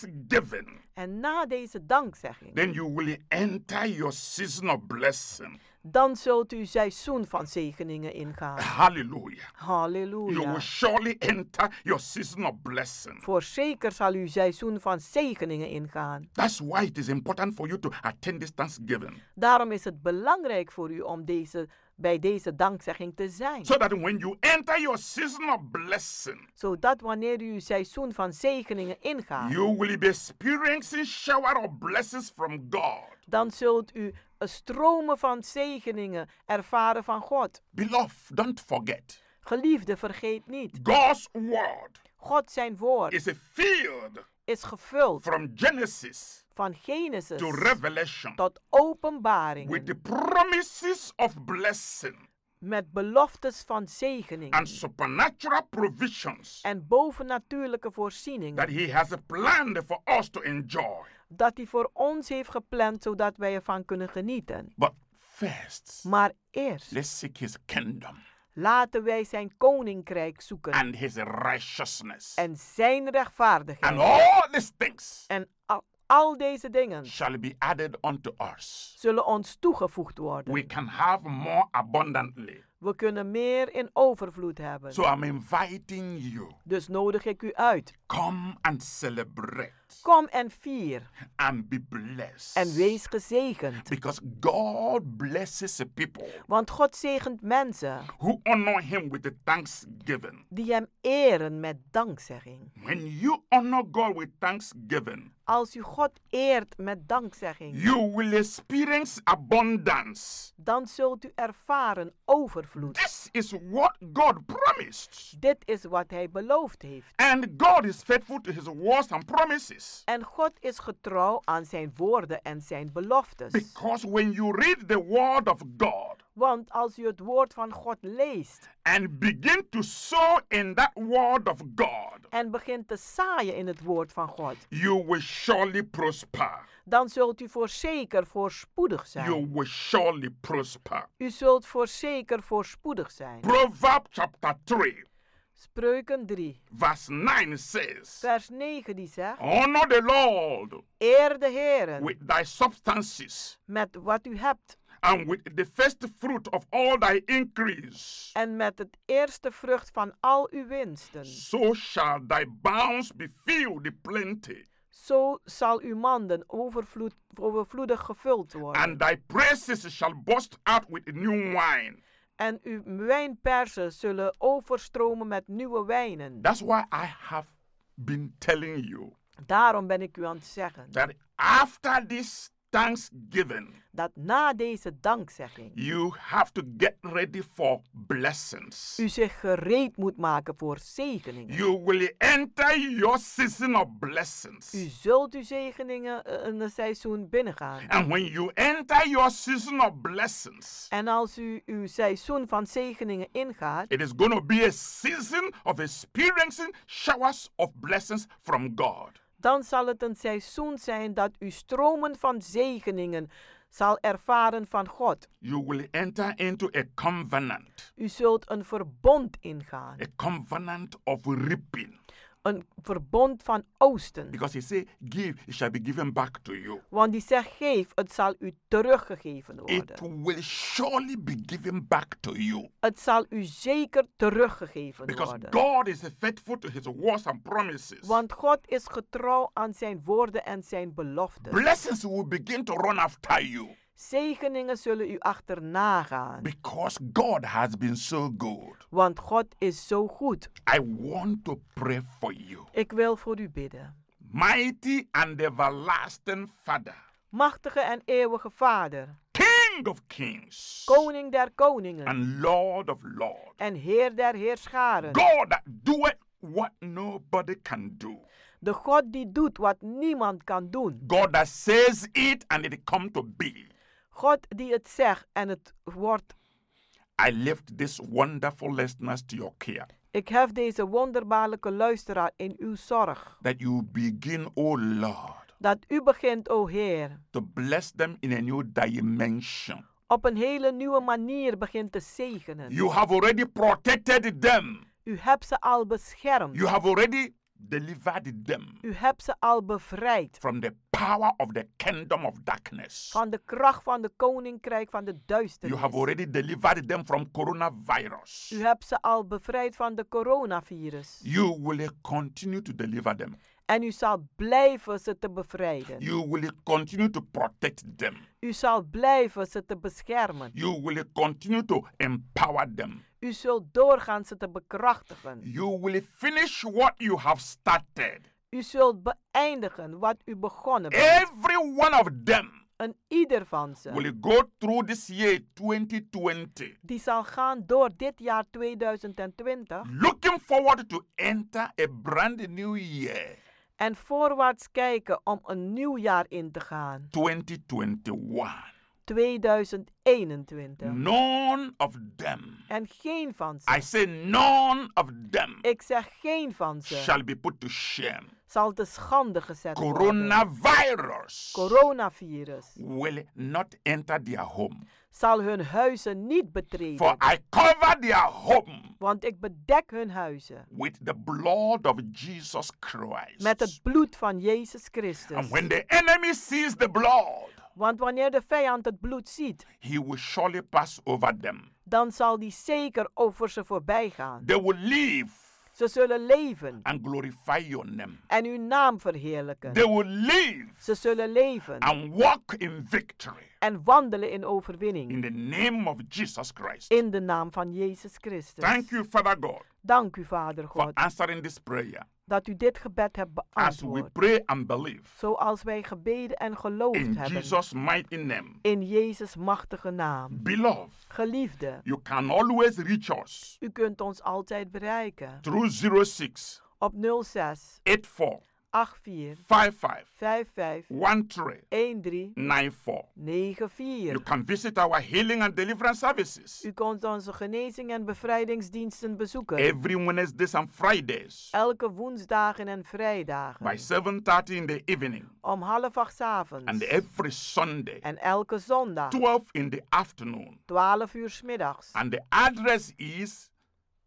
J: thanksgiving,
K: En na deze dankzegging,
J: then you will enter your season of blessing.
K: dan zult u seizoen van zegeningen
J: Ah.
K: ingaan.
J: Hallelujah. You
K: Halleluja.
J: will surely enter your season of blessing.
K: Voorzeker zal u seizoen van zegeningen ingaan.
J: That's why it is important for you to attend this thanksgiving.
K: Daarom is het belangrijk voor u om deze, bij deze dankzegging te zijn.
J: So that when you enter your season of blessing,
K: Zodat wanneer u uw seizoen van zegeningen ingaat,
J: you will be experiencing shower of blessings from God.
K: dan zult u een stromen van zegeningen ervaren van God.
J: Beloved, don't forget,
K: Geliefde, vergeet niet.
J: God's word
K: God zijn woord
J: is a field
K: is gevuld
J: from Genesis
K: van Genesis
J: to Revelation
K: tot openbaring
J: with the promises of blessing
K: met beloftes van zegeningen
J: and supernatural provisions
K: en bovennatuurlijke voorzieningen
J: that He has planned for us to enjoy.
K: dat hij voor ons heeft gepland zodat wij ervan kunnen genieten.
J: But first,
K: Maar eerst
J: let's seek His kingdom
K: laten wij zijn koninkrijk zoeken
J: and His righteousness.
K: en zijn
J: And
K: rechtvaardigheid.
J: all these things
K: En al, al deze dingen
J: shall be added unto us.
K: zullen ons toegevoegd worden.
J: We can have more abundantly.
K: We kunnen meer in overvloed hebben.
J: So I'm inviting you.
K: Dus nodig ik u uit.
J: Come and celebrate
K: Kom en vier
J: and be blessed.
K: en wees gezegend.
J: Because God blesses the people
K: Want God zegent mensen
J: who honor Him with the thanksgiving.
K: die hem eren met dankzegging.
J: When you honor God with thanksgiving,
K: Als u God eert met dankzegging,
J: you will experience abundance.
K: dan zult u ervaren overvloed.
J: This is what God promised.
K: Dit is wat hij beloofd heeft.
J: And God is faithful to His words and promises.
K: En God is getrouw aan zijn woorden en zijn beloftes.
J: Because when you read the Word of God
K: Want als u het woord van God leest
J: and begin to sow in that Word of God,
K: en begint te zaaien in het woord van God,
J: you will surely prosper.
K: dan zult u voorzeker voorspoedig
J: You
K: zijn.
J: will surely prosper.
K: U zult voorzeker voorspoedig zijn.
J: Proverbs chapter 3,
K: Spreuken 3,
J: verse 9 says,
K: vers 9 die zegt,
J: Honor the Lord
K: Eer de Heeren
J: with thy substances
K: met wat u hebt
J: and with the first fruit of all thy increase.
K: en met het eerste vrucht van al uw winsten.
J: So shall thy bounds be filled with plenty,
K: Zo zal uw manden overvloed, overvloedig gevuld worden
J: and thy praises shall burst out with new wine.
K: en uw wijnpersen zullen overstromen met nieuwe wijnen.
J: That's why I have been telling you
K: Daarom ben ik u aan het zeggen
J: that after this thanksgiving,
K: dat na deze dankzegging
J: you have to get ready for blessings.
K: u zich gereed moet maken voor zegeningen.
J: You will enter your season of blessings.
K: U zult uw zegeningen eh, in het seizoen binnengaan.
J: And when you enter your season of blessings,
K: En als u uw seizoen van zegeningen ingaat,
J: it is going to be a season of experiencing showers of blessings from God.
K: dan zal het een seizoen zijn dat u stromen van zegeningen zal ervaren van God.
J: You will enter into a covenant,
K: U zult een verbond ingaan,
J: a covenant of reaping,
K: een verbond van oosten.
J: Because he said, Give, it shall be given back to you.
K: Want die zegt, geef, het zal u teruggegeven worden.
J: It will surely be given back to you.
K: Het zal u zeker teruggegeven
J: Because
K: worden.
J: God is faithful to his words and promises.
K: Want God is getrouw aan zijn woorden en zijn beloften.
J: Blessings will begin to run after you.
K: Zegeningen zullen u achterna gaan.
J: Because God has been so good.
K: Want God is zo goed.
J: I want to pray for you.
K: Ik wil voor u bidden.
J: Mighty and everlasting Father,
K: Machtige en eeuwige Vader,
J: King of kings
K: Koning der koningen
J: and Lord of lords,
K: en Heer der heerscharen.
J: God that doeth what nobody can do,
K: De God die doet wat niemand kan doen.
J: God that says it and it come to be.
K: God die het zegt en het wordt.
J: I lift this wonderful listeners to your care.
K: Ik hef deze wonderbaarlijke luisteraar in uw zorg.
J: That you begin, O Lord,
K: Dat u begint, o Heer,
J: to bless them in a new dimension.
K: op een hele nieuwe manier begint te zegenen.
J: You have already protected them.
K: U hebt ze al beschermd.
J: You have already delivered them
K: U hebt ze al bevrijd
J: from the power of the kingdom of darkness.
K: van de kracht van de koninkrijk van de
J: You have
K: duisternis.
J: already delivered them from coronavirus.
K: U hebt ze al bevrijd van de coronavirus.
J: You will continue to deliver them.
K: En u zal blijven ze te bevrijden.
J: You will continue to protect them.
K: U zal blijven ze te beschermen.
J: You will continue to empower them.
K: U zult doorgaan ze te bekrachtigen.
J: You will finish what you have started.
K: U zult beëindigen wat u begonnen bent.
J: Every one of them
K: Een ieder van ze
J: will go through this year 2020,
K: die zal gaan door dit jaar 2020
J: looking forward to enter a brand new year,
K: en voorwaarts kijken om een nieuw jaar in te gaan.
J: 2021.
K: 2021.
J: None of them,
K: En geen van
J: I
K: ze,
J: say none of them,
K: ik zeg geen van
J: shall
K: ze,
J: be put to shame.
K: zal te schande gezet worden.
J: Coronavirus
K: Coronavirus
J: will not enter their home.
K: zal hun huizen niet
J: For
K: betreden,
J: I cover their home
K: want ik bedek hun huizen
J: with the blood of Jesus Christ.
K: met het bloed van Jezus
J: And
K: Christus.
J: when the enemy sees the blood,
K: Want wanneer de vijand het bloed ziet,
J: he will surely pass over them.
K: dan zal die zeker over ze voorbij gaan.
J: They will live
K: Ze zullen leven
J: and glorify your name.
K: en uw naam verheerlijken.
J: They will live
K: Ze zullen leven
J: and walk in victory
K: en wandelen in
J: in
K: overwinning.
J: the name of Jesus Christ.
K: In de naam van Jezus Christus.
J: Thank you, Father God,
K: Dank u, Vader
J: for
K: God,
J: answering this prayer
K: dat u dit gebed hebt
J: as we
K: beantwoord.
J: pray and believe.
K: Zoals wij gebeden en geloofd
J: In
K: hebben.
J: Jesus' mighty name.
K: In Jezus' machtige naam.
J: Beloved,
K: Geliefde,
J: you can always reach us
K: u kunt ons altijd bereiken
J: through 06
K: op 06
J: 84
K: 84
J: 55
K: 55
J: 13
K: 13
J: 94.
K: 94.
J: You can visit our healing and deliverance services
K: U kunt onze genezing- en bevrijdingsdiensten bezoeken.
J: every Wednesdays and Fridays
K: Elke woensdagen en vrijdagen.
J: by 7:30 in the evening
K: Om half acht 's avonds.
J: and every Sunday
K: En elke zondag.
J: 12 in the afternoon.
K: 12 uur 's middags.
J: And the address is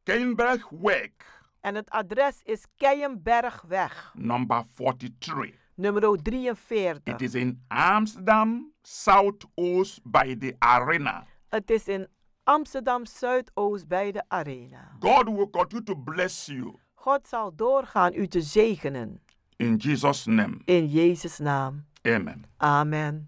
J: Cambridge Work
K: En het adres is Keienbergweg,
J: number 43.
K: nummer
J: It
K: 43.
J: is in Amsterdam, South Oost by the arena.
K: Het is in Amsterdam Zuidoost bij de Arena.
J: God will continue to bless you
K: God zal doorgaan u te zegenen.
J: in Jesus' name.
K: In Jezus' naam.
J: Amen.
K: Amen.